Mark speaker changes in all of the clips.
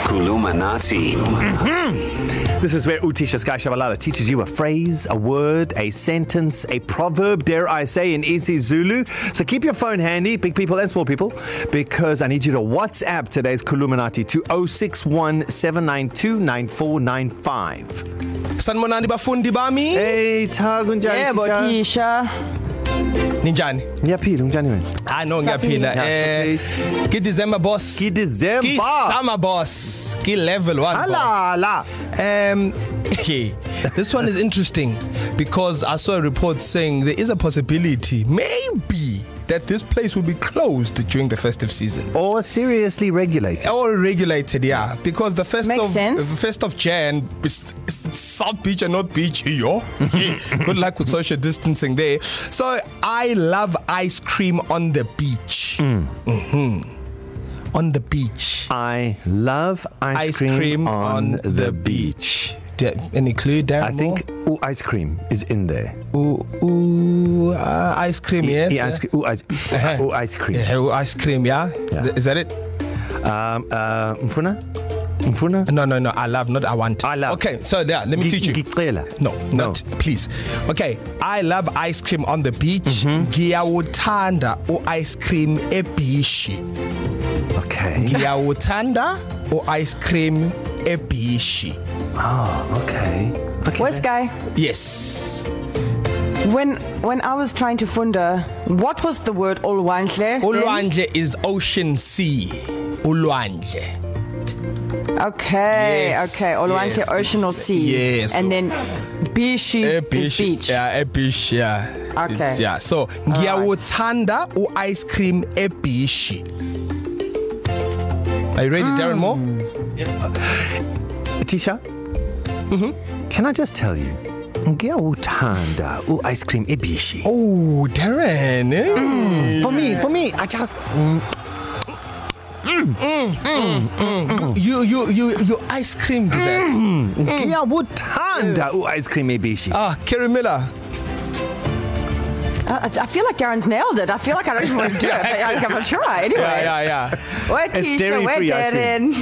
Speaker 1: Kulumanati.
Speaker 2: This is where Utisha Sky Shabalala teaches you a phrase, a word, a sentence, a proverb, dare I say, in easy Zulu. So keep your phone handy, big people and small people, because I need you to WhatsApp today's Kuluminati to 061 792 9495.
Speaker 3: sanibonani bafundi bami
Speaker 2: Hey, Tag unjani?
Speaker 4: Yebo
Speaker 2: teacher?
Speaker 4: thisha.
Speaker 3: ninjani
Speaker 2: Niyaphila unjani wena?
Speaker 3: ah no ngiyaphila
Speaker 2: Yeah,
Speaker 3: eh kidizemba boss
Speaker 2: Ki December.
Speaker 3: summer boss ki level 1 boss
Speaker 2: Halala.
Speaker 3: um this one is interesting because i saw a report saying there is a possibility maybe that this place will be closed during the festive season
Speaker 2: Or seriously regulated.
Speaker 3: all regulated yeah because the first
Speaker 4: Makes
Speaker 3: of
Speaker 4: sense.
Speaker 3: the first of Jan is- is South Beach and North Beach yo good luck with social distancing there so I love ice cream on the beach mm. mhm on the beach
Speaker 2: I love ice,
Speaker 3: ice cream, cream on, on the beach, beach. Do, any clue Darren
Speaker 2: I think ooh, ice cream is in there.
Speaker 3: ooh, ooh uh, ice cream yes
Speaker 2: Yeah, E-, ice cream. Ooh, ice,
Speaker 3: Uh-huh.
Speaker 2: ooh, ice cream.
Speaker 3: yeah, ooh, ice cream yeah,
Speaker 2: Yeah.
Speaker 3: yeah. is that it
Speaker 2: Um, uh, mfuna? Mfuna?
Speaker 3: no no no I love not I want
Speaker 2: I love.
Speaker 3: okay so there let me
Speaker 2: Ngi-
Speaker 3: teach you
Speaker 2: Ngicela.
Speaker 3: No, no, not please. Okay, I love ice cream on the beach. Ngiyawuthanda mm-hmm. u-ice cream ebishi.
Speaker 2: Okay.
Speaker 3: Ngiyawuthanda u-ice cream ebishi.
Speaker 2: Oh, okay. Okay.
Speaker 4: Wes guy,
Speaker 3: Yes.
Speaker 4: when when I was trying to funda, what was the word olwandle?
Speaker 3: Ulwandle is ocean sea. Ulwandle.
Speaker 4: Then? Okay,
Speaker 3: Yes,
Speaker 4: yes, okay. Olwandle
Speaker 3: yes,
Speaker 4: yes, ocean or
Speaker 3: beach.
Speaker 4: sea.
Speaker 3: Yes. Eh,
Speaker 4: And then bishi is beach.
Speaker 3: Yeah, ebishi. Yeah.
Speaker 4: Okay.
Speaker 3: It's, yeah. So, ngiyawuthanda u-ice cream ebishi. Are you ready, mm. Darren Moore?
Speaker 2: Tisha? Mm-hmm. Can I just tell you? Ngiyawuthanda u ice cream ebishi. Oh.
Speaker 3: Oh, Darren. Eh? Mm.
Speaker 2: For me, for me, I just
Speaker 3: You you you you ice creamed that. Mm.
Speaker 2: ngiyawuthanda u ice cream ebishi.
Speaker 3: Ah, Kerry Miller.
Speaker 4: I, I feel like Darren's nailed it. I feel like I don't even want to do it, but I'm going to try anyway.
Speaker 3: Yeah, yeah, yeah.
Speaker 4: Where
Speaker 2: It's
Speaker 4: Tisha, where
Speaker 2: dairy-free ice cream.
Speaker 4: Darren?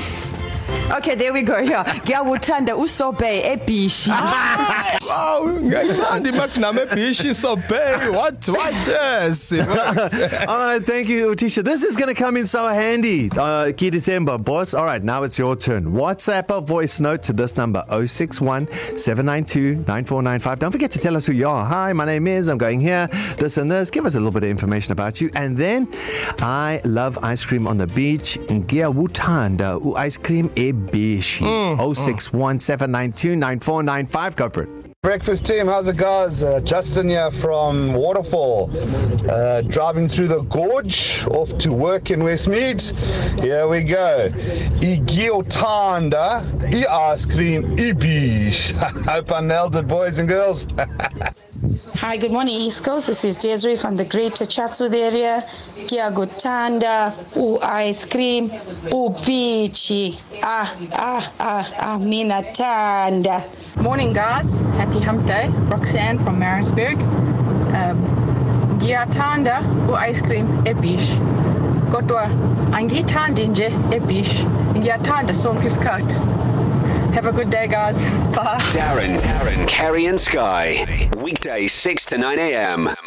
Speaker 4: Okay, there we go. Yeah. Ngiyawuthanda usobe e ebishi.
Speaker 3: Wow, ngiyayithanda imagnum ebishi so big. What what yes.
Speaker 2: All right, thank you, Tisha. This is going to come in so handy. Uh, key December, boss. All right, now it's your turn. WhatsApp a voice note to this number 061 792 9495. Don't forget to tell us who you are. Hi, my name is, I'm going here, this and this. Give us a little bit of information about you. And then I love ice cream on the beach. Ngiyawuthanda u ice cream eh, Oh ebishi. 061 792 9495. Go for it.
Speaker 5: Breakfast team, how's it guys? Uh, Justin here from Waterfall, uh, driving through the gorge, off to work in Westmead. Here we go. Igiotanda, i ice cream, ibish. Hope I nailed it, boys and girls.
Speaker 6: Hi, good morning, East Coast. This is Desiree from the Greater Chatsworth area. Kia gutanda, u ice cream, u peachy. Ah, ah, ah, ah, mina tanda.
Speaker 7: Morning, guys. Happy Hump Day. Roxanne from Maritzburg. Um, ngiyatanda u-ice cream ebish kodwa angiyithandi nje ebish ngiyathanda sonke isikhathi have a good day guys bye
Speaker 1: Darren, Darren, Carrie and Sky. Weekday 6 to 9 a.m.